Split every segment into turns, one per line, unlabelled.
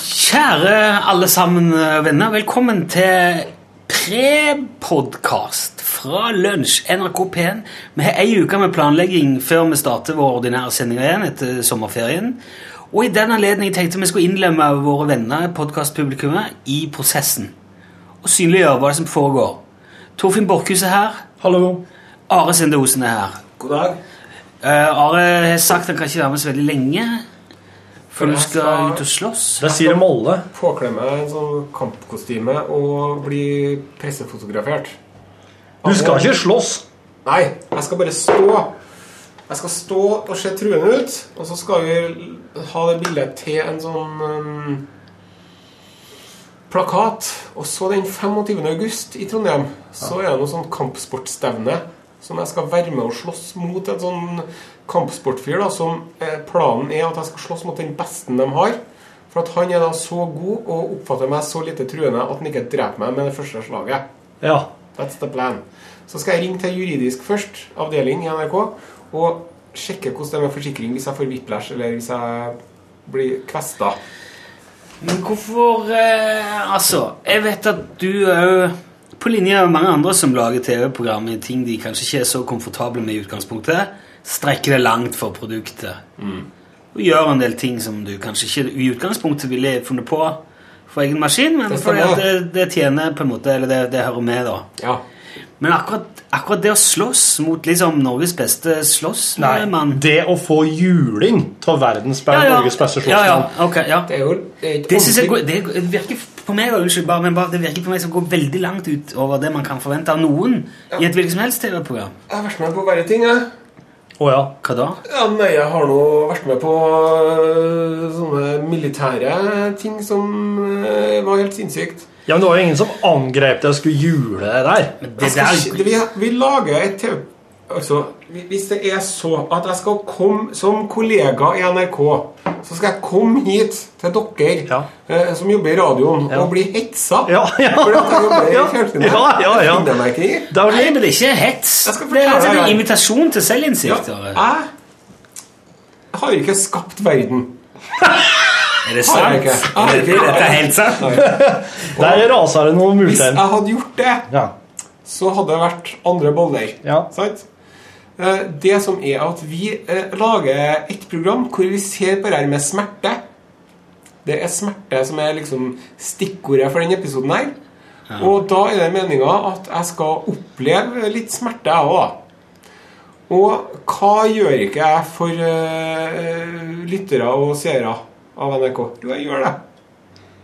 Kjære alle sammen eh, venner, velkommen til pre-podcast fra lunsj NRK P1. Vi har ei uke med planlegging før vi starter vår ordinære sending igjen etter sommerferien. Og i den anledning tenkte vi skulle innlemme våre venner, podcastpublikummet, i prosessen. Og synliggjøre hva som foregår. Torfinn Borkhus er her.
Hallo.
Are Sende Osen er her.
God dag.
Eh, Are har sagt han kan ikke være med så veldig lenge, for du skal ut og slåss.
Der sier de alle.
påkle meg en sånn kampkostyme og bli pressefotografert.
Du skal ikke slåss.
Nei, jeg skal bare stå. Jeg skal stå og se truende ut, og så skal vi ha det bildet til en sånn um, plakat. Og så den 25. august i Trondheim, så er det noe sånn kampsportstevne som jeg skal være med og slåss mot en sånn kampsportfyr da, som eh, planen er at jeg skal slåss mot den beste de har. For at han er da så god og oppfatter meg så lite truende at han ikke dreper meg med det første slaget.
Ja.
That's the plan. Så skal jeg ringe til juridisk først, avdeling i NRK, og sjekke hvordan det er med forsikring hvis jeg får whiplash, eller hvis jeg blir kvesta.
Men hvorfor eh, Altså, jeg vet at du òg på linje med mange andre som lager TV-program i ting de kanskje ikke er så komfortable med i utgangspunktet, strekker det langt for produktet. Og gjør en del ting som du kanskje ikke i utgangspunktet ville funnet på for egen maskin, men
Det
fordi
stemmer.
at det, det tjener på en måte, eller det, det hører med, da.
Ja.
Men akkurat, akkurat det å slåss mot liksom Norges beste slåssmann
Det å få juling av verdens be- Norges beste
ja, ja,
slåssmann.
ok, ja.
Det er jo det er ikke
Det synes jeg går,
ordentlig-
det virker på meg, og unnskyld, bare, men bare, det virker på meg som går veldig langt ut over det man kan forvente av noen i et hvilket som helst TV-program.
Jeg har vært med på verre ting, jeg.
Å ja.
Hva da?
Ja, nei, jeg har nå vært med på øh, sånne militære ting som øh, var helt sinnssykt.
ja, men det var jo ingen som angrep deg og skulle jule deg der.
Det
Jeg skal ikke-
der,
det- vi, vi lager et TV Altså, hvi- Hvis det er så at jeg skal komme som kollega i NRK, så skal jeg komme hit til dere
Ja.
eh, som jobber i radioen,
Ja.
og bli hetsa.
Ja, ja.
For at jeg jobber
Ja,
i fjernsynet.
ja, ja, ja.
Det finner jeg meg ikke i.
Det var
nei,
litt
men det er ikke hets.
Jeg skal
Det er altså
forklare
en
deg.
invitasjon til
Ja,
selvinnsikt. Are.
jeg har ikke skapt verden.
Er det
har
sant?
jeg ikke. Jeg har
Er det,
ikke.
dette er helt sant.
Der raser det noe
Hvis
multein.
jeg hadde gjort det,
Ja.
så hadde det vært andre boller.
Ja.
Sant? Eh, Det som er at vi eh, lager et program hvor vi ser på det her med smerte. Det er smerte som er liksom stikkordet for denne episoden her. Og da er det meninga at jeg skal oppleve litt smerte, jeg òg. Og hva gjør ikke jeg for eh, lyttere og seere av NRK? Jo, jeg gjør det.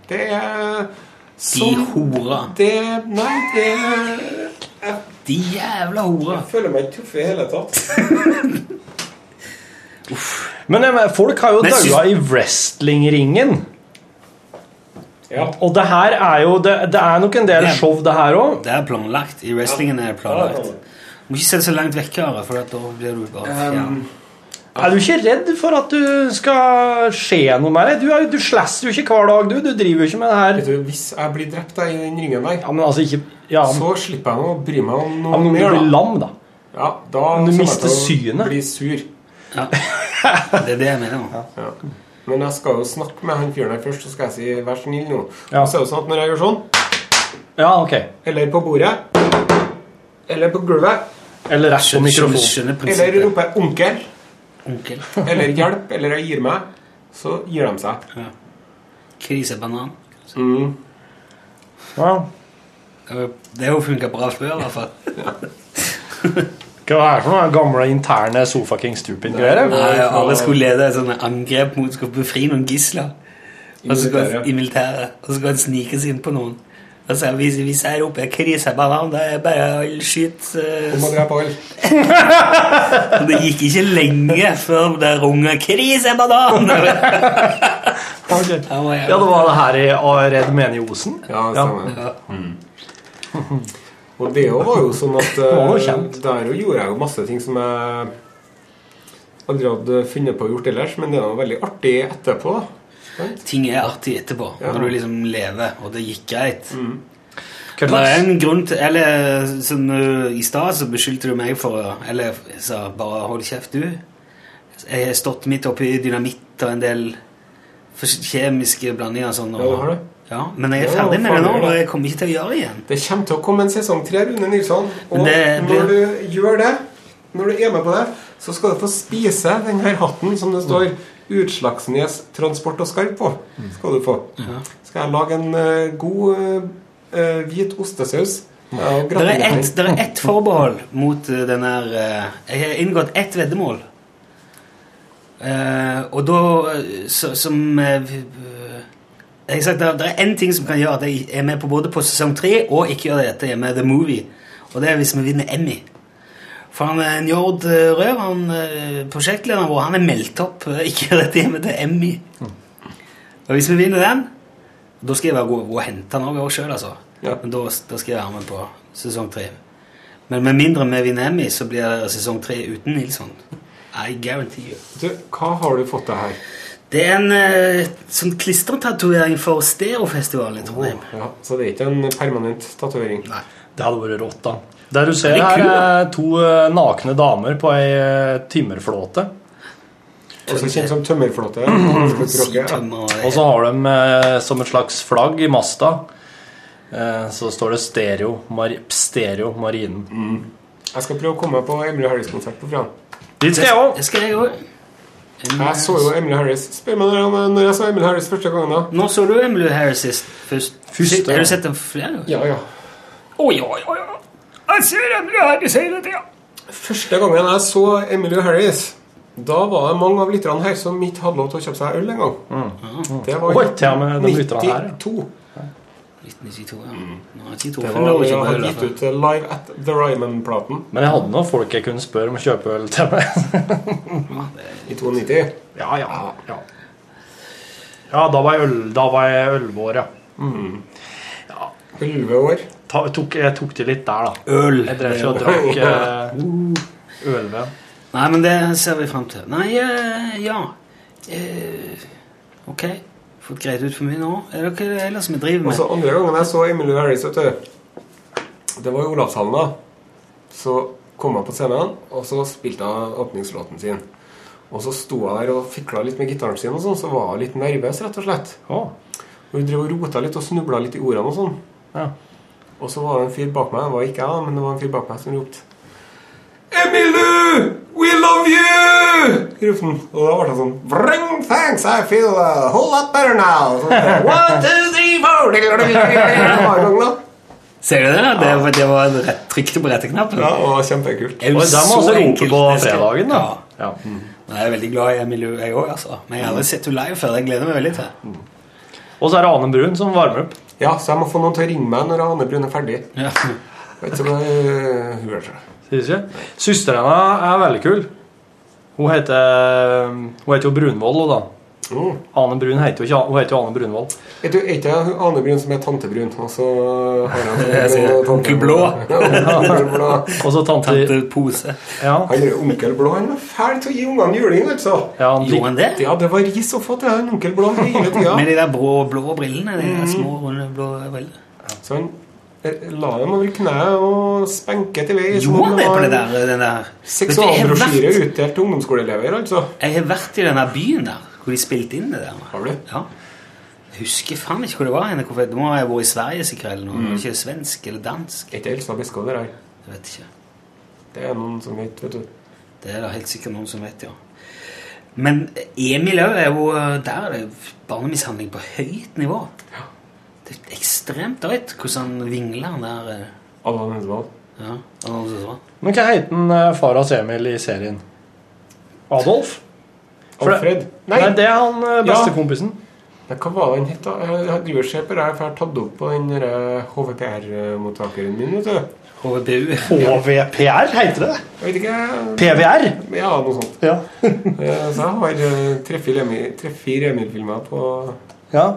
Det er
De
sånn
hora.
det Nei, det Jeg
De jævla hora.
føler meg ikke tøff i hele tatt.
Men jeg, mener, folk har jo
Men jeg
daua i wrestlingringen.
Ja.
Og det her er jo Det, det er nok en del
Ja.
show, det her òg.
Det er planlagt. I wrestlingen er det planlagt. Du må ikke se det så langt vekk, Are, for at da blir du
Um,
bare fjern.
Er du ikke redd for at du skal skje noe med deg? Du, er jo- du slasser jo ikke hver dag, du. Du driver jo ikke med det her.
Vet du, Hvis jeg blir drept da, i den ringen der,
Ja, men altså ikke Ja, men,
så slipper jeg nå å bry meg om
ja,
noe
men du
mer.
blir
Da.
lam, da.
Ja, da
Om
kommer
du
jeg
mister
til å
synet.
Bli sur.
Det er det jeg mener. nå.
Ja. Men jeg skal jo snakke med han fyren her først, så skal jeg si 'vær snill' nå.
Ja.
Og så er det sånn at når jeg gjør sånn,
Ja, ok.
eller på bordet, eller på gulvet,
Eller rett på
Skjønner, skjønner,
mikrofonen.
skjønner
eller
prinsippet.
roper 'onkel',
Onkel.
eller 'hjelp', eller 'jeg gir meg', så gir de seg.
Krisebanan.
Mm.
Ja.
Det har jo funka bra før, i hvert fall.
Hva er det for noe gamle interne Sofa King Stupid-greier?
Nei, alle skulle lede et sånt angrep mot Skulle befri noen gisler Og så skulle han- I militæret. Og så skulle han snike seg inn på noen. Og så hvis, hvis jeg roper 'krisebanan', da er det bare å skyte eh,
Du må drepe alle.
Og det gikk ikke lenge før det runga 'krisebanan'!
Ok.
Da var jeg-
Ja, det var det her i A. Red Meni Osen?
Ja, det stemmer.
Ja.
Og det jo var jo sånn at
var jo
eh,
kjent.
Der jo gjorde jeg jo masse ting som jeg aldri hadde funnet på å gjort ellers, men det var veldig artig etterpå. da. Sant?
Ting er artig etterpå,
Ja.
når du liksom lever, og det gikk greit. Det
Hva
er
slags-
en grunn til Eller som uh, i stad så beskyldte du meg for å- Eller jeg sa bare hold kjeft, du. Jeg har stått midt oppi dynamitt og en del For kjemiske blandinger og sånn.
Ja, du har det.
Ja, men jeg er
Ja,
ferdig med det nå,
farlig, da.
og jeg kommer ikke til å gjøre det igjen.
Det kommer til å komme en sesong tre, Rune Nilsson. Og
Men det blir-
når du gjør det, når du er med på det, så skal du få spise den her hatten som det står 'Utslagsnes Transport og Skarv' på.
Mm.
Skal du få. Skal jeg lage en eh, god eh, eh, hvit ostesaus. Ja, og
Mm. Det er
gratinere den.
ett, der er ett forbehold mot eh, den her eh, Jeg har inngått ett veddemål. Eh, og da eh, så, Som eh, vi- eh, Jeg har sagt det er én ting som kan gjøre at jeg er med på både på sesong tre og ikke gjør det etter jeg er med The Movie, og det er hvis vi vinner Emmy. For han eh, Njord eh, Røv, han eh, prosjektlederen vår, han er meldt opp. eh, Ikke gjør dette hjemme til Emmy.
Mm.
Og hvis vi vinner den, da skal jeg være god og hente den òg sjøl, altså.
Ja.
Men da, da skal jeg være med på sesong tre. Men med mindre vi vinner Emmy, så blir det sesong tre uten Nilsson. I guarantee you.
Du, hva har du fått deg her?
Det er en eh, sånn klistretatovering for Stereofestivalen i Trondheim.
Ja, så det er ikke en permanent tatovering.
Nei.
Det hadde vært rått, da. Det du ser
Det er
her,
kul, da.
er to eh, nakne damer på ei eh, timmerflåte.
Også kjent som tømmerflåte.
Sitømmer
Og så har de eh, som et slags flagg i masta eh, Så står det Stereo, mar stereo
Mm.
Marinen.
Jeg skal prøve å komme meg på Emily Harris-konsert på Fran.
Dit skal jeg òg!
Det skal jeg òg.
Jeg så jo Emily Harris. Spør meg når jeg- når jeg så Emily Harris første gangen, da.
Nå så du Emily Harris sist. Først.
Først, ja.
Har du sett den flere ganger?
Ja, ja.
Oi, oi, oi, oi. Jeg ser Emily Harris hele tida.
Første gangen jeg så Emily Harris, da var det mange av lytterne her som ikke hadde lov til å kjøpe seg øl engang. Det var
Mm. Oi, til og med de lytterne her, ja.
92.
1992, ja. Nå er 92,
Det
men
var
det
da jeg
var
hadde
ikke
gitt
bare
ut Live at The Ryman-platen
Men jeg hadde noen folk jeg kunne spørre om å kjøpe øl til meg.
i 92.
ja, ja, ja. Ja, da var jeg øl, da var jeg ølvår, ja.
11 Mm. år.
Ta, tok, jeg tok til litt der, da.
Øl.
Jeg drev ikke og drakk eh, ølved.
Nei, men det ser vi frem til. Nei, eh, ja. Eh, ok. Fått greit ut for mye nå. Er det ikke det ellers vi driver
Og
med?
så andre gangen jeg så Emily Harris, vet du Det var i Olavshallen, da. Så kom hun på scenen, og så spilte hun åpningslåten sin. Og så sto hun der og fikla litt med gitaren sin, og sånn, så var hun litt nervøs, rett og slett.
Å,
Hun drev og rota litt og snubla litt i ordene og sånn.
ja.
Og så var det en fyr bak meg, det var ikke jeg, da, men det var en fyr bak meg som ropte Emilu! We love you! ropte han. Og da ble han sånn Vrang, thanks, I feel a whole lot better now. Så, One, two, three, four Det var gangen, da.
Ser du det? da? Det, var- det var rett, trykte på rette knappen.
Ja, det var kjempekult.
Er jo
Og de
så
må også rope
enkelt
på
menneske.
fredagen, da.
Ja.
Ja.
Nei, Jeg er veldig glad i Emilie, jeg òg, altså. Men jeg har aldri sett henne live før. Jeg gleder meg veldig til
Og så er det Ane Brun som varmer opp.
Ja, så jeg må få noen til å ringe meg når Ane Brun er ferdig.
ja.
Vet du hva øh, hun gjør?
Synes jeg. Søsteren hennes er veldig kul. Hun heter, hun heter jo Brunvoll, hun da.
Mm.
Ane Brun heter jo ikke Hun heter jo Ane Brunvoll.
Er du- er ikke det hun Ane Brun som er tante Brun? Og så har jeg
Jeg sier onkel Blå.
Ja, onkel Blå.
Og så tante
Tante Pose.
Ja,
Han er onkel Blå. Han er fæl til å gi ungene juling, altså.
ja han
Gjorde han det?
Ja, det var ris å få til han onkel Blå hele tida.
Med de der brå, blå brillene. De der små, runde, blå brillene.
Så han eh, la dem over kneet og spenket i vei. som
Gjorde
om
han det på
var
det der? Den der. Vet du, jeg,
Seksualbrosjyre
har vært,
utdelt til ungdomsskoleelever, altså.
jeg har vært i den der byen der, hvor de spilte inn det der.
Har du?
Ja. Jeg husker faen ikke hvor det var. henne. Hvorfor- Det må ha vært i Sverige sikkert, eller noe. Ikke svensk eller dansk.
Er ikke Elsa Biskov der? her?
Jeg vet ikke.
Det er noen som vet, vet du.
Det er det helt sikkert noen som vet, ja. Men Emil òg er jo eh, Der er det jo barnemishandling på høyt nivå. Det er ekstremt drøyt hvordan han vingler han der eh,
Allan Hedvald.
Ja, han har også sånn.
Men hva heter han eh, far av Emil i serien? Adolf? For det-
Alfred.
Nei, det er han eh,
Ja.
bestekompisen.
Nei, Hva var det han het, da? Jeg jeg driver og ser på det her, for jeg har tatt det opp på den eh, HVPR-mottakeren min, vet du.
HVPU.
HVPR heter det.
Jeg vet ikke
PVR.
Ja, noe sånt.
Ja.
Eh, Så jeg har eh, tre-fire Emil- tre-fire Emil-filmer på
ja.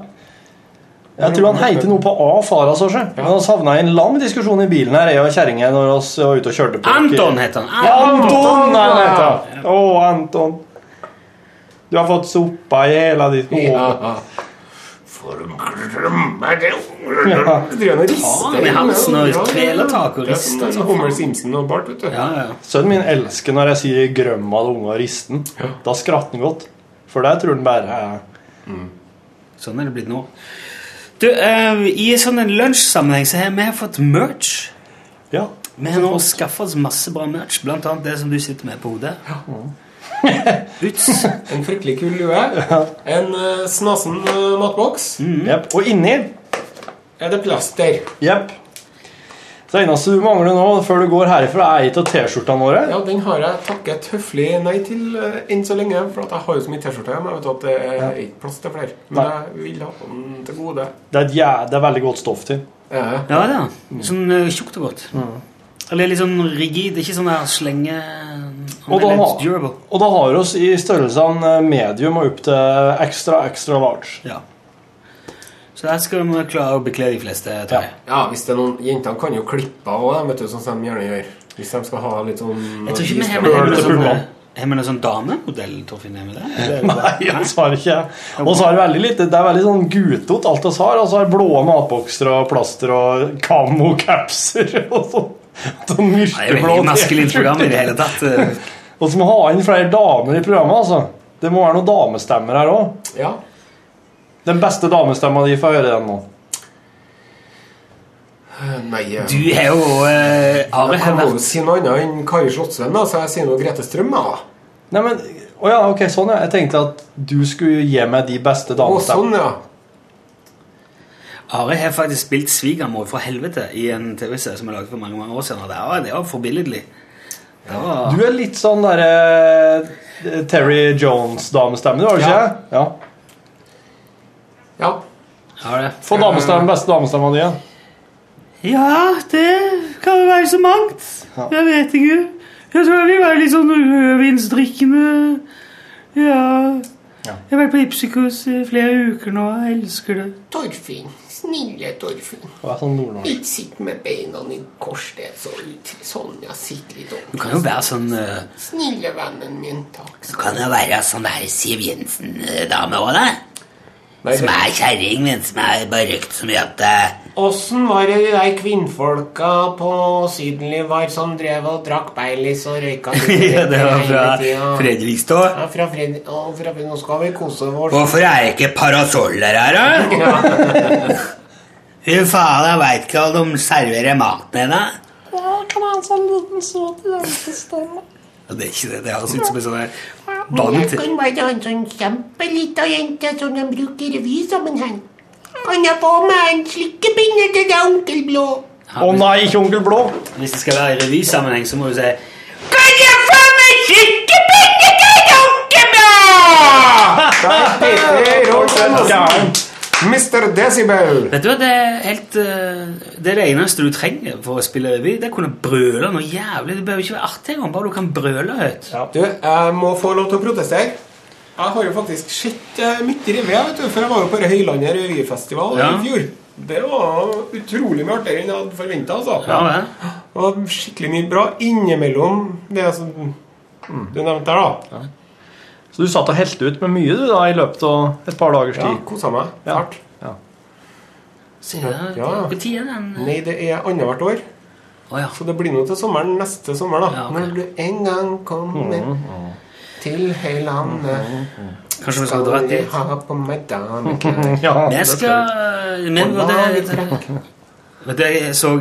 Jeg tror han heter noe på A, fara så seg. Men vi havna i en lang diskusjon i bilen her, jeg og kjerringa, når vi var ute og kjørte på
Anton heter han!
Ja,
Anton!
Anton er det heter. Å, Anton. Du har fått sopa i hele ditt hode.
For å glemme det Driver han og rister?
med halsen og kveler tak og rister
Ja,
som
sånn Homer Simpson og Bart, vet du.
Ja, ja.
Sønnen min elsker når jeg sier 'grømma det unge og risten'. Da skratter han godt. For det tror han bare er
Sånn er det blitt nå. Du, eh, I sånn en lunsjsammenheng så har vi fått merch.
Ja.
Vi har nå skaffa oss masse bra merch, blant annet det som du sitter med på hodet. Uts.
En fryktelig kul lue. En eh, snasen eh, matboks.
Mm.
Mm. Jep. Og inni
Er det plaster?
Jepp. Så Det eneste du mangler nå, før du går herifra, er ei av T-skjortene våre.
Ja, den har jeg takket høflig nei til eh, enn så lenge. For at jeg har jo så mye T-skjorte hjemme. Jeg vet at det er ikke plass til flere. Men
Nei.
jeg vil ha den til gode.
Det, er et jæ- det er veldig godt stoff til.
Ja, ja.
Ja da. Sånn eh, tjukt og godt. Eller litt sånn rigid. Ikke sånn der slenge
Og da,
Eller
har-
durable.
og da har vi oss i størrelsene medium og opp til extra, extra large.
Ja. Så her skal vi klare å bekle de fleste. Tror jeg.
Ja, hvis det er noen Jentene kan jo klippe av òg, vet du, sånn som de gjerne gjør. Hvis de skal ha litt sånn
jeg tror ikke vi har
Øl
med har vi
til
noe sånn,
pulver.
har vi noe sånn damemodell, Torfinn. Har vi det?
Nei, dessverre ikke. Og så er det veldig lite. Det er veldig sånn gutete, alt vi har. Og så er blå matbokser og plaster og kamokapser og sånn. Sånn
Nei, jeg vet
myrteblå
ikke maskulint program i det hele tatt. eh.
Og så må vi ha inn flere damer i programmet, altså. Det må være noen damestemmer her òg.
Ja.
Den beste damestemma di får høre den nå.
Eh, Nei eh,
Du har jo eh, Are har
Jeg kan jo
vært
si noe annet enn Kari Slottsvenn, da, så jeg sier noe Grete Strøm. jeg, da.
Nei, men, å ja, ok, sånn ja. Jeg tenkte at du skulle gi meg de beste
Å,
damestemmene.
sånn, ja.
Are har faktisk spilt svigermor fra helvete i en TV-serie som er laget for mange mange år siden. og Det var, det var forbilledlig. Det var,
Du er litt sånn derre Terry Jones-damestemme, var du ikke?
Ja.
Ja.
ja.
ja, det.
Få damestemme, beste damestemma di. ja.
Ja, det kan jo være så mangt. Jeg vet ikke. Jeg tror jeg vil være litt sånn rødvinsdrikkende. Ja.
Ja.
Jeg har vært på Ipsikos i flere uker nå. Jeg elsker det.
Torfinn, snille Torfinn.
Hva er sånn nordnorsk?
Ikke sitt med beina i kors. Det er så ut. Sånn, ja. Sitt litt
Du
opp.
kan jo være sånn
Snille vennen min, takk.
Du kan jo være sånn der Siv Jensen-dame òg, da.
Nei, det-
er kjerring, men som er bare røykt så mye at eh,
Åssen var det de der kvinnfolka på Sydenlivar som drev og drakk Baileys og røyka
Ja, det var fra
Fred...
Fredrikstad.
Ja, fra Fred... å, fra Fred... Nå skal vi kose oss.
Hvorfor er det ikke parasoller her, da? Fy faen, jeg veit ikke om de serverer maten ennå. Ja, det er ikke det. Det høres ut som en sånn her
Jeg
vann til
kan være en sånn kjempelita jente som de bruker i revysammenheng. Kan jeg få meg en slikkepinne til deg, onkel Blå?
Å nei, ikke Onkel Blå!
Hvis det skal være i revysammenheng, så må du si
Kan jeg få meg slikkepinne til deg, onkel Blå?
Der heter Rolf Endersen.
Gæren.
Mr. Decibel.
Vet du hva, det er helt eh, Det er det eneste du trenger for å spille revy. Det er å kunne brøle noe jævlig. Det behøver ikke være artig engang, bare du kan brøle høyt.
Du, jeg må få lov til å protestere. Jeg har jo faktisk sett eh, mye revy, jeg, vet du, for jeg var jo på Høylandet revyfestival
Ja.
i fjor. Det var utrolig mye artigere enn jeg hadde forventa. Altså.
Ja, vel.
Det var skikkelig mye bra innimellom det som mm, du nevnte her, da.
Så du satt og helte ut med mye du da i løpet av et par dagers
Ja,
tid?
Kosa meg.
Ja.
Fælt.
Ja.
Så ja,
Ja.
Hvor tid er den? Å
Nei, det er annethvert år,
ja.
så det blir nå til sommeren neste sommer, da.
Ja, ok. Mm,
Når du en gang kommer til Høylandet,
Kanskje vi Mm, skal dra
skal jeg
dit?
ha på meg dameklær.
Ja, det
Jeg
skal
skal
Og
men det, det,
lagetrekk.
Vet du, jeg så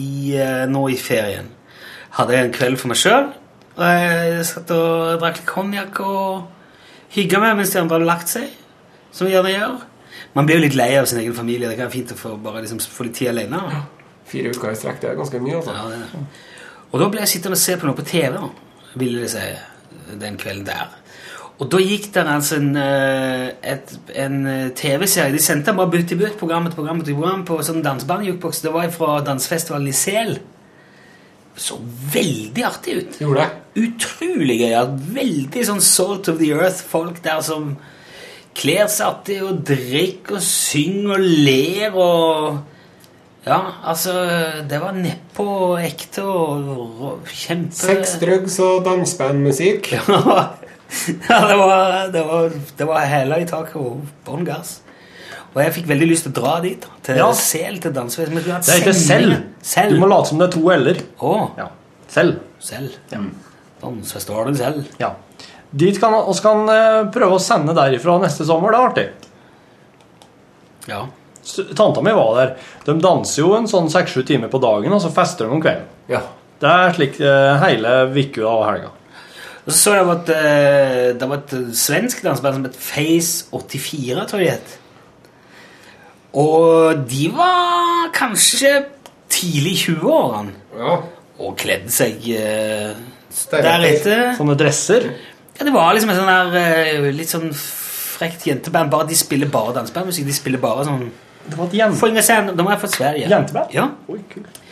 i, eh, nå i ferien Hadde jeg en kveld for meg selv Og jeg satt og drakk litt konjakk Og hygget meg mens de andre hadde lagt seg Som vi gjerne gjør Man blir jo litt lei av sin egen familie Det kan være fint å få, bare liksom, få litt tid alene da.
Fire uker i strekk, det er ganske mye, altså.
Ja, det er det. Og da ble jeg sittende og se på noe på TV, da, ville det si, den kvelden der. Og da gikk det altså en, eh, et, en eh, TV-serie. De sendte den bare butt i butt, program etter program etter program, på sånn dansebandjukeboks. Det var fra dansefestivalen i Sel. Så veldig artig ut.
Gjorde det.
Utrolig gøyalt. Veldig sånn salt of the earth-folk der som kler seg artig og drikker og synger og ler og Ja, altså Det var nedpå og ekte og rå- kjempe...
Sex, drugs og dansebandmusikk.
Ja, det var, det, var, det var hæla i taket og bånn gass. Og jeg fikk veldig lyst til å dra dit. da, Til
Ja.
Sel, til dansefest. Men vi skulle hatt
Det heter selv.
sendinger. Sel.
Du må late som det er to l-er.
Å,
Ja. Selv.
Sel. Dansefest var det selv.
Ja. Dit kan, oss kan eh, prøve å sende derifra neste sommer. Det er artig.
Ja.
S- Tanta mi var der. De danser jo en sånn seks-sju timer på dagen, og så fester de om kvelden.
Ja.
Det er slik eh, hele uka og helga.
Og så så jeg at eh, det var et eh, svensk danseband som het Face84, tror jeg det het. Og de var kanskje tidlig i 20-årene
ja.
og kledde seg eh,
Deretter.
deretter.
Sånne dresser.
Ja, det var liksom en sånn der eh, litt sånn frekt jenteband. Bare De spiller bare dansebandmusikk. De spiller bare sånn
Det var et jente...
Sjunge sen, De er fra Sverige.
jenteband.
Ja.
Oi, kult.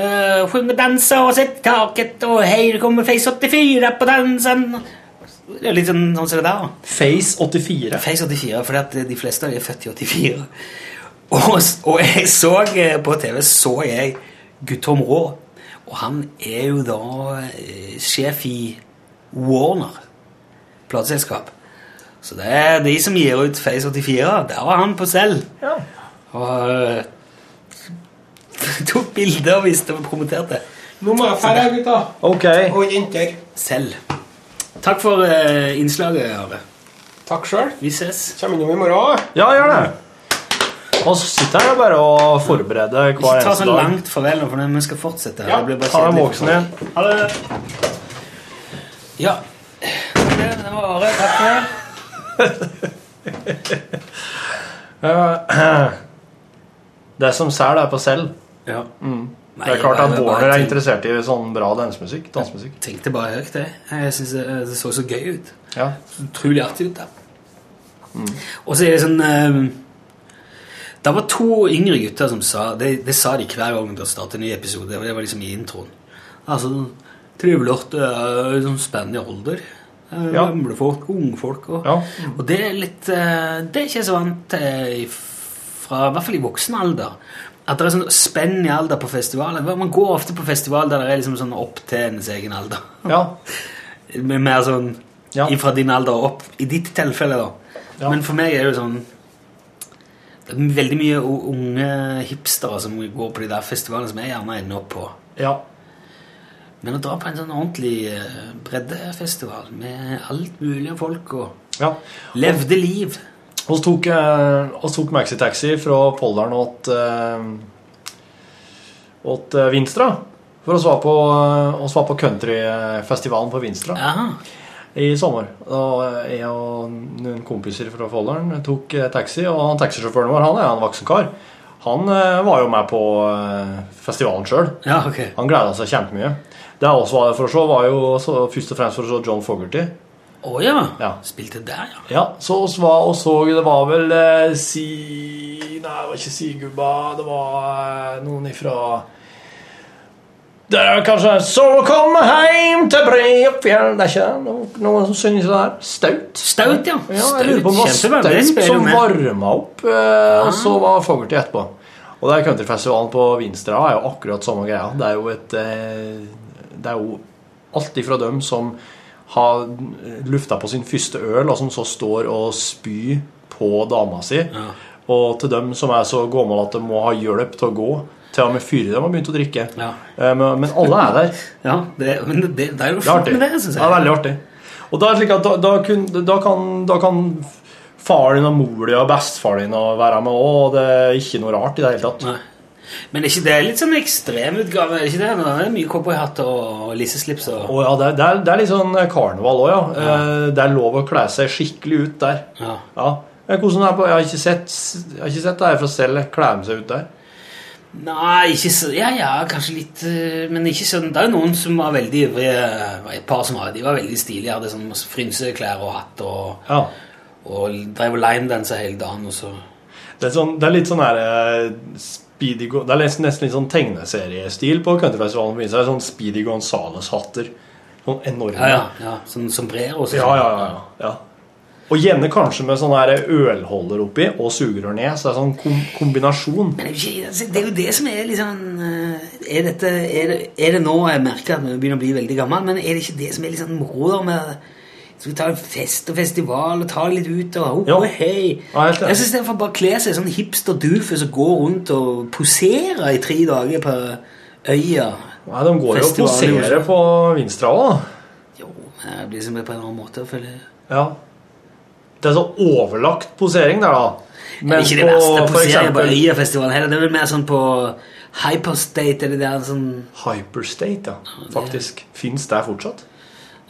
Uh, Sjunge dansa og sett taket, og hei, det kommer Face 84 på dansen. Det er jo litt sånn sånn som det der. da.
Face 84.
Face 84, fordi at de fleste av de er født i 84. Og, og jeg så eh, på TV så jeg Guttorm Rå. Og han er jo da eh, sjef i Warner plateselskap. Så det er de som gir ut Face 84. Der var han på selv.
Ja.
Og eh, tok bilder og viste og promoterte.
Nå må jeg ferdig, gutta.
Ok.
Og jenter.
Selv. Takk for eh, innslaget, Are.
Takk sjøl.
Vi ses.
Kommer innom i morgen.
Ja, gjør det. Og så sitter jeg bare og forbereder
Ikke
hver
ta
eneste
sånn
dag.
langt farvel nå, for vi skal fortsette. her.
Ja,
Det blir bare
Ta deg
kjedelig for
voksen
folk.
igjen. Ha det.
Ja. Det, det var Are. Takk for det.
Eh, Det som selger, er på selv.
Ja.
Mm. Det er klart at Warner er interessert i sånn bra dansemusikk. Dansemusikk.
Tenkte bare høyt, det. Jeg synes det, det så så gøy ut.
Ja.
Så utrolig artig ut, da. Og så er det sånn eh, Det var to yngre gutter som sa Det, det sa de hver gang de startet en ny episode, og det var liksom i introen. Altså, Trivelig og sånn spennende alder. Eh,
Ja.
Gamlefolk, ungfolk og
Ja.
Og det er litt eh, Det er ikke jeg så vant til i f- fra I hvert fall i voksen alder. At det er sånn spenn i alder på festivaler. Man går ofte på festival der det er liksom sånn opp til ens egen alder.
ja.
Men Mer sånn
Ja.
fra din alder og opp. I ditt tilfelle, da.
Ja.
Men for meg er det jo sånn Det er veldig mye u- unge hipstere som går på de der festivalene som jeg gjerne ender opp på.
ja.
Men å dra på en sånn ordentlig eh, breddefestival med alt mulig av folk og
ja.
levde liv
Oss tok, eh, oss tok maxitaxi fra Polderen åt, eh, åt eh, Vinstra. For oss var på, eh, oss var på countryfestivalen på Vinstra.
Aha.
i sommer. Da eh, jeg og noen kompiser fra Folderen tok eh, taxi, og han taxisjåføren vår han er en voksen kar. Han eh, var jo med på eh, festivalen sjøl.
Ja, ok.
Han gleda seg kjempemye. Det jeg også var der for å se, var jo også, først og fremst for å se John Fogerty.
Å ja.
Ja.
Spilte der, ja.
Ja, så oss var og så Det var vel eh, si... Nei, det var ikke Sigubba. Det var eh, noen ifra Det er kanskje Så kom heim til Breifjell. Det er ikke det? Noen, noen som synger sånn der. Staut.
Staut, ja.
Ja, jeg lurer på om det var
Kjempebra, den
Staut
spiller
som
med.
varma opp, eh, og så var Fogerty etterpå. Og det er countryfestivalen på Vinstra er jo akkurat samme greia. Det er jo et eh, Det er jo alt ifra dem som har lufta på sin første øl, og som så står og spyr på dama si, og til dem som er så gamle at de må ha hjelp til å gå. Til og med fire dem har begynt å drikke.
Ja.
Eh, Men, men alle er der.
Ja, det, men det, det er jo
Det er
flott
artig.
med det, synes
Det er
jeg.
veldig artig. Og da, er det slik at da, da, kun, da, kan, da kan far din og mor din og bestefar din og være med òg, og det er ikke noe rart i det hele tatt.
Nei. Men er ikke det litt sånn ekstremutgave? Er ikke det? Nå er det mye cowboyhatter og lisseslips og
Og ja, det, er- det, er, det er litt sånn karneval òg, ja. Eh, Det er lov å kle seg skikkelig ut der.
ja.
Ja. Eh, Hvordan er det på, jeg, har ikke sett, jeg har ikke sett det her fra selv kle med seg ut der.
Nei, ikke så Ja, ja, kanskje litt eh, Men ikke sånn Det er jo noen som var veldig ivrige. Det var Et par som var, de var veldig stilige. Hadde sånn masse frynseklær og hatt og,
Ja.
og drev og linedansa hele dagen. Og så
Det, er sånn, det er litt sånn her eh, Speedy Go- Det er nesten, nesten litt sånn tegneseriestil på countryfestivalen. på Vinstra. Det er Sånn Speedy Gonzales-hatter. Sånn enorme.
Ja, ja. ja sånn sombrero. og sånn.
Ja, ja, ja, ja. Og gjerne kanskje med sånn her ølholder oppi og sugerør ned. Så det er sånn kom kombinasjon.
Men det er, jo ikke, altså, det er jo det som er liksom eh, er, dette, er, det, er det nå Jeg merker at vi begynner å bli veldig gammel, men er det ikke det som er liksom moro da med skal vi ta en fest og festival og ta det litt ut og oh,
Ja.
hei.
Ja, helt enig.
Jeg synes det er for å bare kle seg sånn hipster-dufus og gå rundt og posere i tre dager på øya.
Nei, De går jo og
Festival i
poserer
Oslo.
på Vinstra òg.
Jo, det blir som på en annen måte, føler jeg.
Ja. Det er så overlagt posering der, da.
Men det er ikke det verste på serien på
eksempel
Øyafestivalen heller. Det er vel mer sånn på Hyperstate eller det der sånn
Hyperstate, ja. Faktisk. Fins det fortsatt?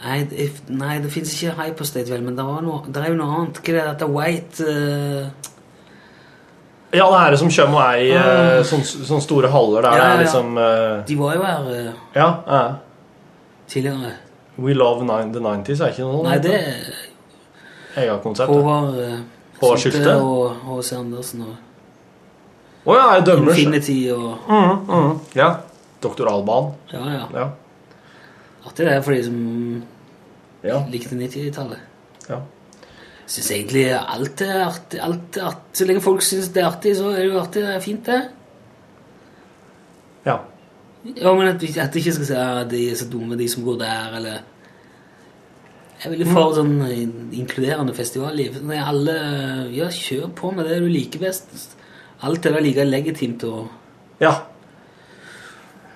Nei, det, nei, det fins ikke Hyperstate, vel, men det, var noe, det er jo noe annet. Hva er det dette White eh,
Ja, det her som kommer og er i eh, sånn- sånne store haller der
Ah. Ja, ja,
det er
ja.
liksom eh,
De var jo her eh,
Ja. eh,
tidligere.
We love nine, the 90s er ikke noe
Nei, det er
eget konsept. Å
Håvard eh,
Håvard Sylte.
og H.C. Andersen og
ja, jeg dømmer.
Infinity og
Mhm, mhm, ja. Doktoralbanen.
Ja, ja.
Ja.
Artig det er for de som
ja.
likte 90-tallet.
ja.
Syns egentlig alt er artig. Alt er artig. Så lenge folk syns det er artig, så er det jo artig. Det er fint, det.
ja.
Ja, men at, vi- at jeg ikke skal si at de er så dumme, de som går der, eller Jeg er veldig for sånn in- inkluderende festivalliv. Når alle Ja, kjør på med det du liker best. Alt er da like legitimt og
Ja.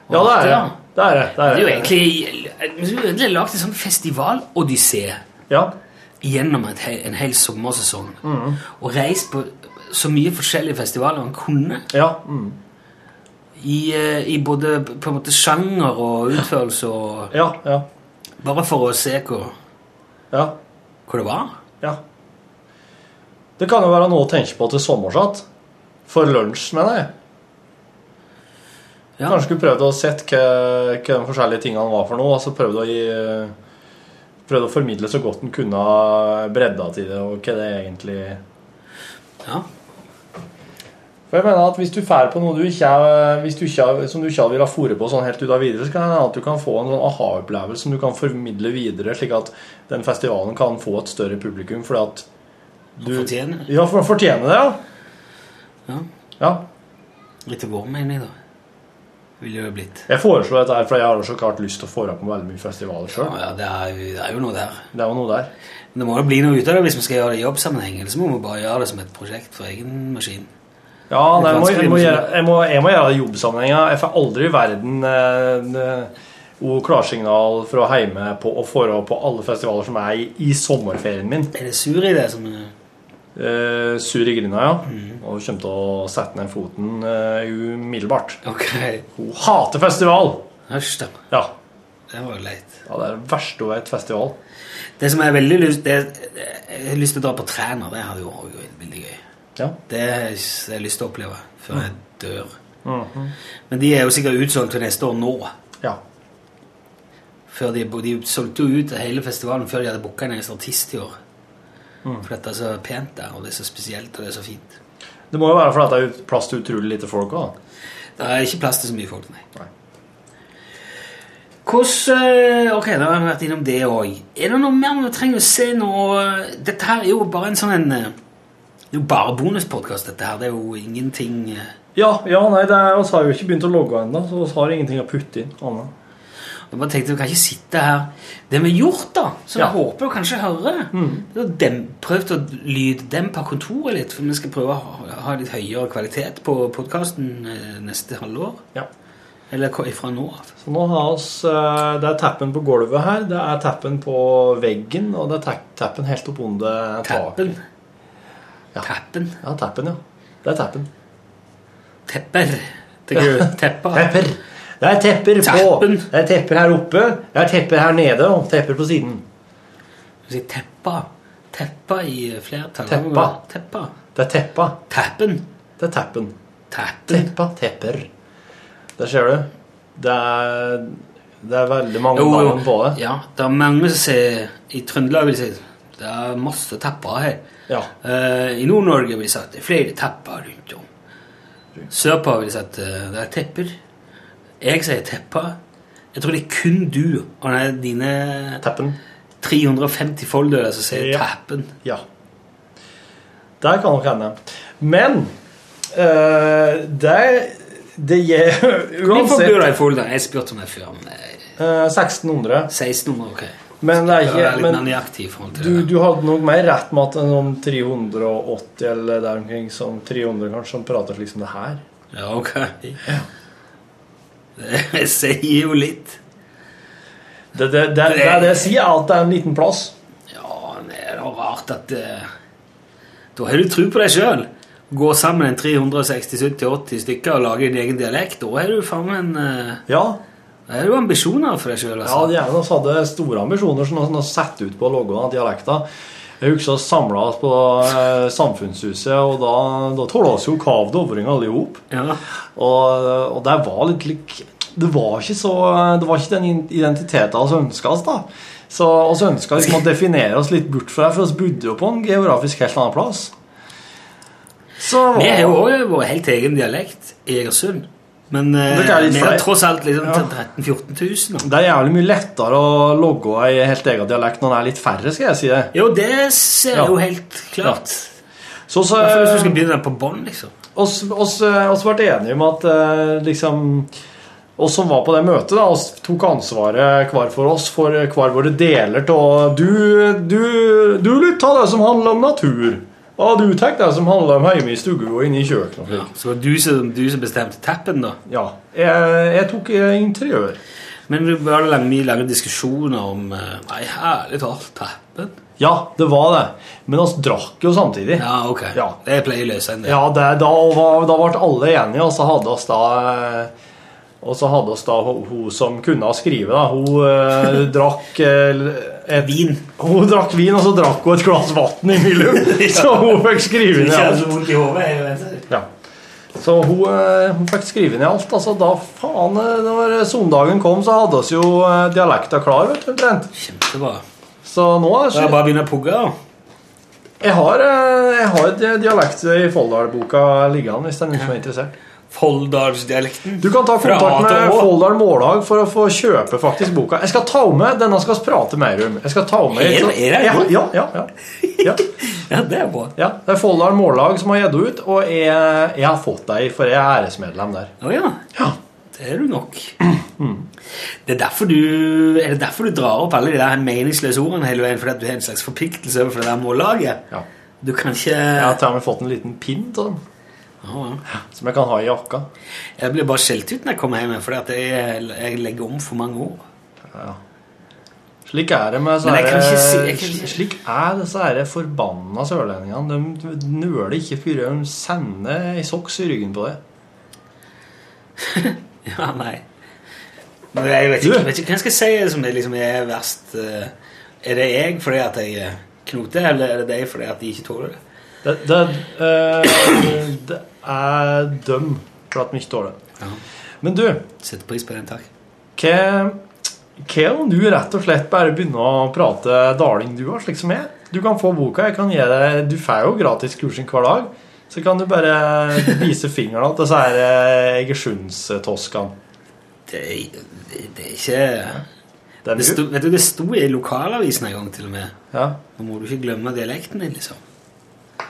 Ja, det er det. Det er det.
Det er jo
det.
egentlig Vi skulle egentlig lagd en sånn festivalodyssé
Ja.
gjennom et, he- en hel sommersesong. Og reist på så mye forskjellige festivaler man kunne.
Ja. Mm.
I, eh, i både på en måte sjanger og utførelse og
Ja. Ja.
Bare for å se hvor,
ja.
hvor det var.
Ja. Det kan jo være noe å tenke på til sommers igjen. For lunsj, mener jeg.
Ja.
Kanskje skulle prøvd å sett hva, hva de forskjellige tingene var for noe, og så prøvd å gi Prøvd å formidle så godt en kunne bredda til det, og hva det egentlig
Ja.
For jeg mener at hvis du fær på noe du ikke er, hvis du ikke er, som du ikke vil ha fôret på sånn helt ut av videre, så kan det hende at du kan få en sånn aha-opplevelse som du kan formidle videre, slik at den festivalen kan få et større publikum, fordi at du
Fortjener det.
Ja, for å fortjene det, ja.
Ja.
ja.
Etter vår mening, da. Ville det jo blitt.
Jeg foreslår dette her, for jeg har jo så klart lyst til å få opp med veldig mye festivaler
Ja,
sjøl.
ja det, er jo, det er jo noe der.
Det er jo noe der.
Men det må jo bli noe ut av det hvis vi skal gjøre det i jobbsammenheng. Ellers må vi bare gjøre det som et prosjekt for egen maskin.
Ja,
Det
nei,
er
jeg, må,
vanskelig,
jeg, må
liksom.
gjøre, jeg, må, jeg må gjøre det i jobbsammenhenga. Jeg får aldri i verden eh, eh, og klarsignal fra hjemme på å få opp på alle festivaler som er i, i sommerferien min.
Er det sur i det som er
Eh, sur i grinda, ja. Og kommer til å sette ned foten eh, umiddelbart.
Ok.
Hun hater festival!
Æsj, da.
Ja.
Det var jo leit.
ja, det er det verste hun vet, festival.
Det som jeg har veldig lyst det, Jeg har lyst til å dra på Træna. Det hadde jo også vært veldig gøy.
Ja.
Det har jeg lyst til å oppleve før jeg dør.
Mhm.
Men de er jo sikkert utsolgt til neste år nå.
ja.
før de, de solgte jo ut hele festivalen før de hadde booka en eneste artist i år. For dette er så pent der, og det er så spesielt, og det er så fint.
Det må jo være fordi det er ut- plass til utrolig lite folk òg, da.
Det er ikke plass til så mye folk, nei.
Nei.
Hvordan eh, Ok, da har vi vært innom det òg. Er det noe mer vi trenger å se nå? Dette her er jo bare en sånn en eh, Det er jo bare bonuspodkast, dette her. Det er jo ingenting eh,
Ja, ja, nei, det er, oss har jo ikke begynt å logge ennå, så vi har ingenting å putte inn. Anna.
Jeg bare tenkte, vi kan ikke sitte her Det vi har gjort da, som
Ja. Mm.
jeg håper du kanskje hører Det er å dem- prøvd å lyddempe kontoret litt For vi skal prøve å ha, ha litt høyere kvalitet på podcasten eh, neste halvår
Ja.
Eller ko- fra nå av
Så nå har oss, eh, Det er tappen på gulvet her, det er tappen på veggen, og det er ta- tappen helt opp under taket.
Tappen
Ja.
Tappen
Ja, tappen, ja. Det er tappen.
Tepper
Tepper.
Tepper
Tepper. Det er tepper på
Tappen.
Det er tepper her oppe, det er tepper her nede, og tepper på siden.
Du sier Teppa Teppa i eh, flertall
Teppa.
Teppa
Det er teppa.
Tappen
Det er tappen.
Tappen
Teppa, tepper. Der ser du. Det er, det er veldig mange
Jo, jo.
navn på det.
Ja, det er mange som sier I Trøndelag vil si Det er masse tepper her
Ja.
Eh, I Nord-Norge blir det sagt det er flere tepper rundt om. Sørpå vil sagt eh, det er tepper. Jeg sier tepper. Jeg tror det er kun du og det er dine
Tappen.
350 folder som sier
Ja.
teppen.
Ja. Der kan nok hende. Men eh, det, det gir
Hvor får du
uansett
deg i folder? Jeg spurte om det før. Men eh,
eh, 1600.
1600, ok.
Men det er
Jeg er
ikke
litt
men,
mer nøyaktig i forhold til
Du,
det.
du hadde nok mer rett med at noen 380 eller der omkring som 300 kanskje, som prater slik som det her.
Ja, ok. Det sier jo litt.
Det, det, det, det, det jeg sier, er at det er en liten plass.
Ja, men det er da rart at eh, Da har du tro på deg sjøl. Gå sammen en 360-70-80 stykker og lage din egen dialekt. Da har du faen meg en eh,
Ja,
Da har du ambisjoner for deg sjøl,
ja
altså.
de ene av oss hadde store ambisjoner som de satte ut på logoen av dialekter. Jeg husker vi samla oss på eh, Samfunnshuset, og da, da tåla oss jo kav dovringer alle i hop.
Ja.
Og, og det var litt lik det var ikke så Det var ikke den identiteten vi ønska oss, da. Så vi ønska liksom å definere oss litt bort fra det, for vi bodde jo på en geografisk helt annen plass. Så
Vi har jo òg vår helt egen dialekt i Egersund. Men eh,
Dere er litt
vi har
flere.
tross alt liksom
Ja.
13 000-14 000.
Det er jævlig mye lettere å logge ei helt egen dialekt når den er litt færre, skal jeg si det.
Jo, det ser
Ja.
jo helt klart.
Så, så,
Derfor hvis du skal begynne på bånn, liksom.
oss, oss, eh, oss ble enige om at eh, liksom oss som var på det møtet, da, oss tok ansvaret hver for oss for hver våre deler av du, du, du lytt til det som handler om natur. Og du tar det som handler om hjemme i stua og inne i kjøkkenet. og slik.
Så var det du som, du som bestemte tappen, da.
Ja. Jeg, jeg tok eh, interiør.
Men vi var det lang- mye lange diskusjoner om eh, Nei, herlig talt, tappen.
Ja, det var det. Men oss drakk jo samtidig.
Ja, ok.
Ja.
Det pleier å løse en del.
Ja, det, da, var, da ble alle enige, og så hadde oss da eh, Og så hadde oss da hun, hun som kunne skrive, da. Hun eh, drakk eh, et,
Vin.
Hun drakk vin, og så drakk hun et glass vann imellom, så hun fikk skrive ned alt.
vondt i hodet.
Ja. Så hun, eh, hun fikk skrive ned alt. Altså, da faen eh, Når søndagen kom, så hadde oss jo eh, dialekta klar, vet du, omtrent.
Kjempebra.
Så nå
Da
er
er
det
det bare å begynne å pugge, da.
Jeg har, eh, jeg har et dialekt i Folldal-boka liggende, hvis det er noen som er interessert.
Folldalsdialekten.
Du kan ta
Fra A
kontakt
til
med
Å.
Folldal Mållag for å få kjøpe faktisk boka. Jeg skal ta med denne skal vi prate mer om. Jeg skal ta med
Er det- er det-
ja, ja, ja, ja. ja,
Ja, det er bra.
ja. Det er Folldal Mållag som har gitt ut, og jeg, jeg har fått deg, for jeg er æresmedlem der.
Å ja.
Ja.
Det er du nok. Det er, derfor du, er det derfor du drar opp alle de der meningsløse ordene hele veien? Fordi at du har en slags forpliktelse overfor det der mållaget?
Ja.
Du kan ikke
Jeg har til og med fått en liten pinn til den,
Ja, ja.
som jeg kan ha i jakka.
Jeg blir bare skjelt ut når jeg kommer hjem, fordi at jeg, jeg legger om for mange ord.
Slik er det med så
Men jeg kan ikke si- jeg kan
slik,
ikke-
slik er disse her forbanna sørlendingene. De nøler ikke før de sender ei soks i ryggen på deg.
Ja, nei. Men jeg vet ikke,
Du?
vet ikke hva jeg skal si som er, liksom, er verst. eh, Er det jeg fordi at jeg er knote, eller er det deg fordi at de ikke tåler det?
Det, det, eh, det er døm for at vi ikke tåler det.
Ja.
Men du,
Setter pris på den, takk.
hva, hva om du rett og slett bare begynner å prate daling du har, slik som jeg? Du kan få boka, jeg kan gi deg Du får jo gratis kursing hver dag. Så kan du bare vise fingeren til disse her eh, Egersundstoskene.
Det, er- det, det er ikke
Det er
det sto,
mye.
vet du, det sto i lokalavisen en gang til og med.
Ja.
Nå må du ikke glemme dialekten din, liksom.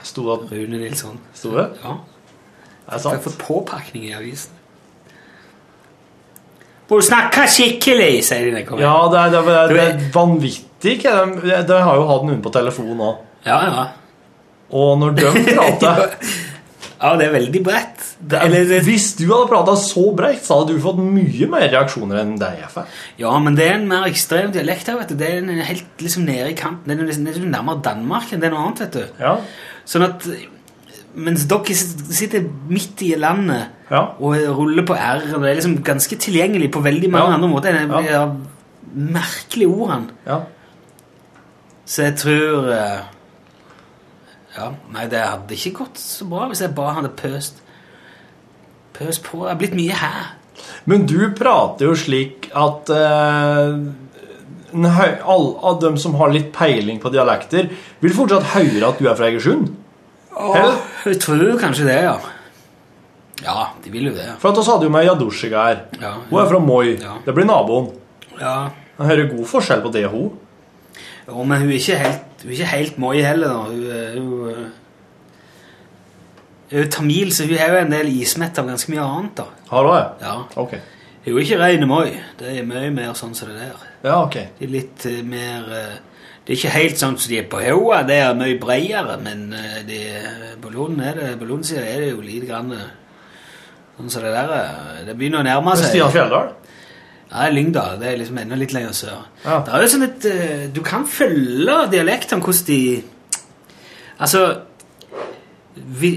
Sto det
Rune Nilsson.
sto det?
Ja.
Er det
Jeg har
sant?
fått påpakning i avisen. Må du snakke skikkelig, sier de når jeg kommer.
Ja, det er, det er, det er
Du,
vanvittig. hva De, de har jo hatt noen på telefonen òg.
ja, ja.
Og når de prater
Ja, det er veldig bredt.
Det er,
Eller, det,
hvis du hadde prata så breit, så hadde du fått mye mer reaksjoner enn deg. Jeg får.
ja, men det er en mer ekstrem dialekt her, vet du. Det er en helt liksom nede i kanten. Det er liksom, det er liksom nærmere Danmark enn det er noe annet, vet du.
Ja.
Sånn at mens dere s- sitter midt i landet
Ja.
og ruller på R, og det er liksom ganske tilgjengelig på veldig mange
Ja.
andre måter. Det er
Ja.
ja. merkelige ordene.
ja.
Så jeg tror eh, Ja, nei, det hadde ikke gått så bra hvis jeg bare hadde pøst Pøst på. Det har blitt mye her.
Men du prater jo slik at eh, en høy- alle av dem som har litt peiling på dialekter, vil fortsatt høre at du er fra Egersund. Eller?
Jeg tror kanskje det, ja. Ja, de vil jo det.
For at oss hadde jo med Jadushiga her.
Ja,
Hun er fra Moi.
Ja.
Det blir naboen.
Ja.
Jeg hører god forskjell på det og hun.
Jo, men hun er ikke helt, hun er ikke helt Moi heller, da. Hun er jo eh, Hun er jo tamil, så hun har jo en del ismett av ganske mye annet, da.
Har hun det?
Ja.
Ok.
Hun er jo ikke reine Moi. Det er mye mer sånn som det der.
Ja, ok.
Det er litt eh, mer eh, Det er ikke helt sånn som de er på Haua. Det er mye bredere, men eh, det, på Lund er det, på Lundsida er det jo lite grann eh, sånn som det der. eh, Det begynner å nærme
Men
seg.
Stian Fjelldal?
Nei, Lyngdal. Det er liksom enda litt lenger sør.
Ja.
Det er jo sånn at eh, du kan følge dialektene hvordan de Altså vi,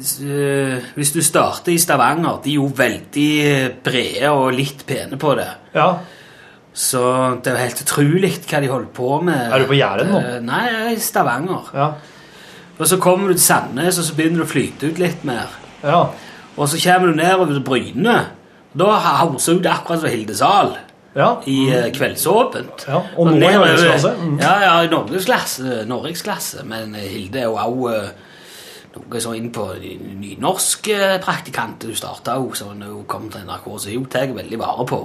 eh, Hvis du starter i Stavanger De er jo veldig brede og litt pene på det.
Ja.
Så det er jo helt utrolig hva de holder på med.
Er du på Jæren nå?
Eh, Nei, jeg er i Stavanger.
Ja.
Og så kommer du til Sandnes, og så begynner du å flyte ut litt mer.
ja.
Og så kommer du nedover til Bryne. Da hauser du akkurat som Hilde Sahl
ja.
i eh, Kveldsåpent.
Ja, og nå i
nedover-
norgesklasse. Mm.
Ja, ja, i norgesklasse. norgesklasse. Men eh, Hilde er jo også eh, noe så inn på ny- nynorsk eh, praktikant. Hun starta jo, så når hun kom til NRK, så hun tar veldig vare på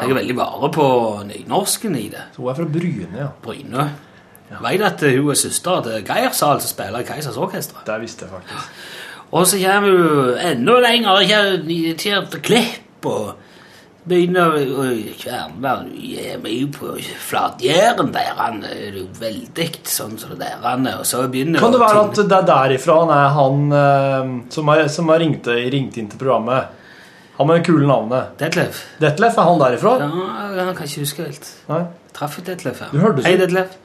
Tar veldig vare på nynorsken i det.
Så hun er fra Bryne, ja.
Bryne. Jeg Veit at eh, hun er søster til Geir Sahl, som spiller i Keisers Orkester.
Der visste jeg faktisk.
Og så kommer du enda lenger ikke- til til Klepp og begynner å å kverne hjemme jo på Flatjæren der han er jo veldig sånn som det der han er, og så begynner
Kan det være
ting-
at det er derifra han er han eh, som har, som har ringt, ringt inn til programmet? Han med det kule navnet.
Detlef?
Detlef, er han derifra?
Ja, jeg kan ikke huske helt.
Nei?
Traff jo Detlef her.
Du hørte det.
Hei, Detlef.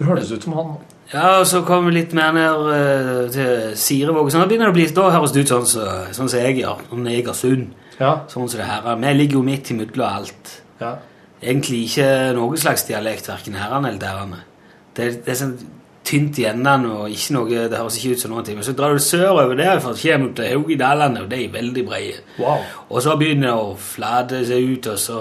Det høres ut som han.
Ja, og så kommer vi litt mer ned eh, til Sirevåg. og Sånn, da begynner det å bli, da høres det ut sånn som sånn som jeg gjør, om Egersund.
Ja.
Sånn som det her er. Vi ligger jo midt imellom alt.
ja.
egentlig ikke noen slags dialekt, hverken herrene eller derrene. Det, er- det er sånn tynt igjennom, og ikke noe, det høres ikke ut som noen ting. Men så drar du sørover der, for så kommer du til Haugidalene, og de er veldig brede.
Wow.
Og så begynner det å flate seg ut, og så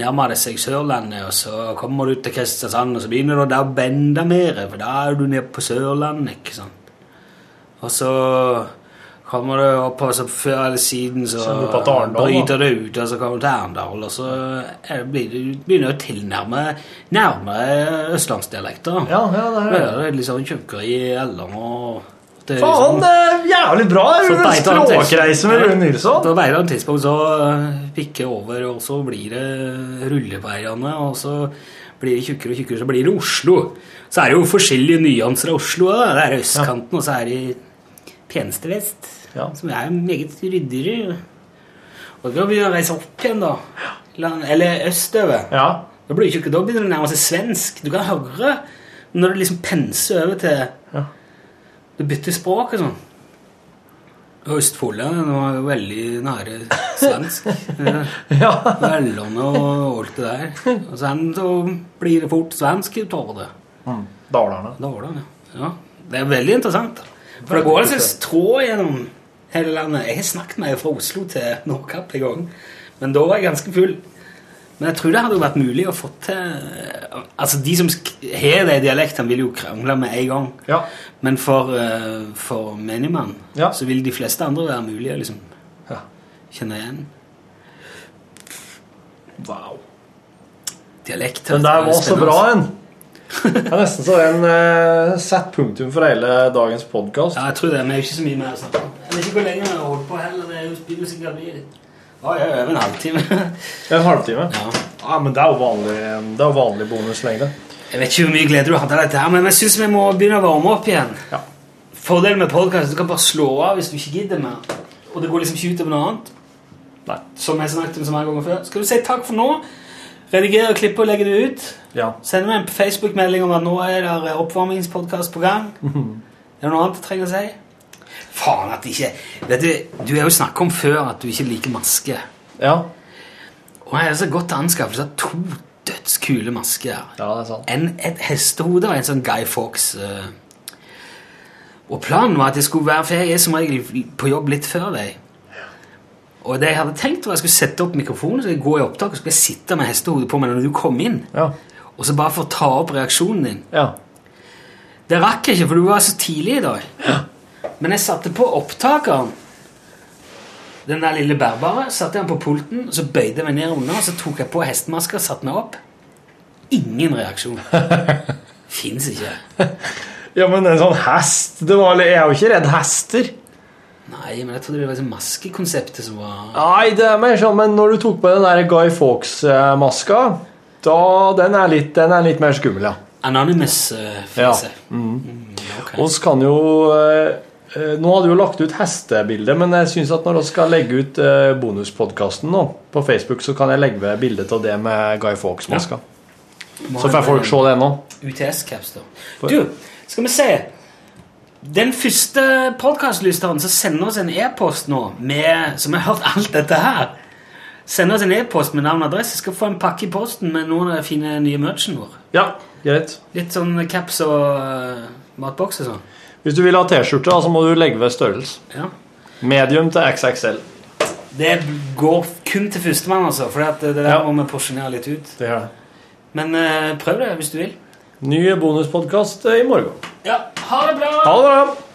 nærmer det seg Sørlandet, og så kommer du til Kristiansand, og så begynner det der å bende mer, for da er du nede på Sørlandet, ikke sant? Og så kommer du opp, og så før eller siden så,
Så er du på Arendal, da.
bryter det ut, og så kommer du til Arendal, og så er det- blir du begynner du å tilnærme nærmere østlandsdialekter.
Ja, ja, det er
Det er litt sånn tjukkere i alderen og det er
Faen,
liksom-
det er jævlig bra!
Så
Det er
beit han til-
Språkreise med Rune Nilsson.
Da på et eller annet tidspunkt så eh, pikker over, og så blir det rulleveiene, og så blir det tjukkere og tjukkere, så blir det Oslo. Så er det jo forskjellige nyanser av Oslo. Da. Det er østkanten, og så er det peneste vest.
Ja.
Som er meget ryddigere. Og da begynner han å reise opp igjen, da. Land- Eller østover.
Ja.
Da, blir det ikke, da begynner det å nærme seg svensk. Du kan høre når du liksom penser over til
Ja.
Du bytter språk og sånn. Og Østfoldene nå er jo veldig nære svensk. Ja.
ja.
Vellene og alt det der. Og sen så blir det fort svensk utover det.
Mm. Dalarna.
Da var det, ja. ja. Det er veldig interessant. For det går altså en slags tråd gjennom hele landet. Jeg har snakket med ei fra Oslo til Nordkapp en gang, men da var jeg ganske full. Men jeg tror det hadde jo vært mulig å få til Altså, de som sk- har de dialektene, vil jo krangle med en gang.
Ja.
Men for, eh, for menigmann
Ja.
så vil de fleste andre være mulig å liksom
Ja.
kjenne igjen.
Wow.
Dialekt
Den der var så
spennende,
bra,
altså.
en. Det er nesten så en uh, satt punktum for hele dagens podkast.
Ja, jeg tror det, men det er jo ikke så mye mer å snakke om. Jeg vet ikke hvor lenge vi har holdt på heller. Det er jo spill og sigarett. Ja, ja, over en halvtime.
En halvtime.
ja.
Ja, men det er jo vanlig, det er jo vanlig bonuslengde.
Jeg vet ikke hvor mye glede du hadde av dette, her, men jeg syns vi må begynne å varme opp igjen.
Ja.
Fordelen med podkast er at du kan bare slå av hvis du ikke gidder mer. Og det går liksom ikke ut over noe annet.
Nei.
Som jeg snakket om så mange ganger før. Skal du si takk for nå? Redigere, klippe og legge det ut.
Ja.
Send meg en Facebook-melding om at nå er det oppvarmingspodkast på gang. Er det noe annet du trenger å si? Mhm. Faen at ikke Vet Du du har jo snakket om før at du ikke liker maske.
ja.
Og jeg har så godt anskaffelse av to dødskule masker. her.
Ja, det er sant.
En, et hestehode og en sånn Guy Fawkes. eh. Og planen var at jeg skulle være For jeg er som regel på jobb litt før deg. Og det jeg hadde tenkt var at jeg skulle sette opp mikrofonen, så jeg gå i opptak og så skulle jeg sitte med hestehodet på meg når du kom inn.
Ja.
Og så bare for å ta opp reaksjonen din.
ja.
Det rakk jeg ikke, for du var så tidlig i dag. Men jeg satte på opptakeren. Den der lille bærbare satte jeg den på pulten, så bøyde jeg meg ned under, så tok jeg på hestemaska og satte meg opp. Ingen reaksjon. Fins ikke.
ja, men en sånn hest det var, Jeg er jo ikke redd hester.
Nei, men jeg trodde det var liksom maskekonseptet som var
Nei, det er mer sånn, men når du tok på den der Guy Fawkes-maska, da den er, litt, den er litt mer skummel, ja.
Anonymous. eh, får
Ja.
jeg si. Mm, ok.
Oss kan jo eh, eh, Nå hadde vi jo lagt ut hestebildet, men jeg syns at når vi skal legge ut eh, bonuspodkasten nå på Facebook, så kan jeg legge ved bilde av det med Guy Fawkes-maska.
Må
Så
ha
får
en-
folk se det nå.
UTS-caps, da.
For-
Du, skal vi se Den første podkastlysteren som sender oss en e-post nå, med, som har hørt alt dette her Sender oss en e-post med navn og adresse, skal få en pakke i posten med noen av den fine nye merchen vår.
Ja, greit.
Litt sånn caps og eh, matboks og sånn.
Hvis du vil ha T-skjorte, da, så må du legge ved størrelse.
Ja.
Medium til XXL.
Det går kun til førstemann, altså, for det der
Ja.
må vi porsjonere litt ut.
Det gjør det.
Men eh, prøv det hvis du vil.
Ny bonuspodkast eh, i morgen.
Ja, ha det bra!
Ha det bra!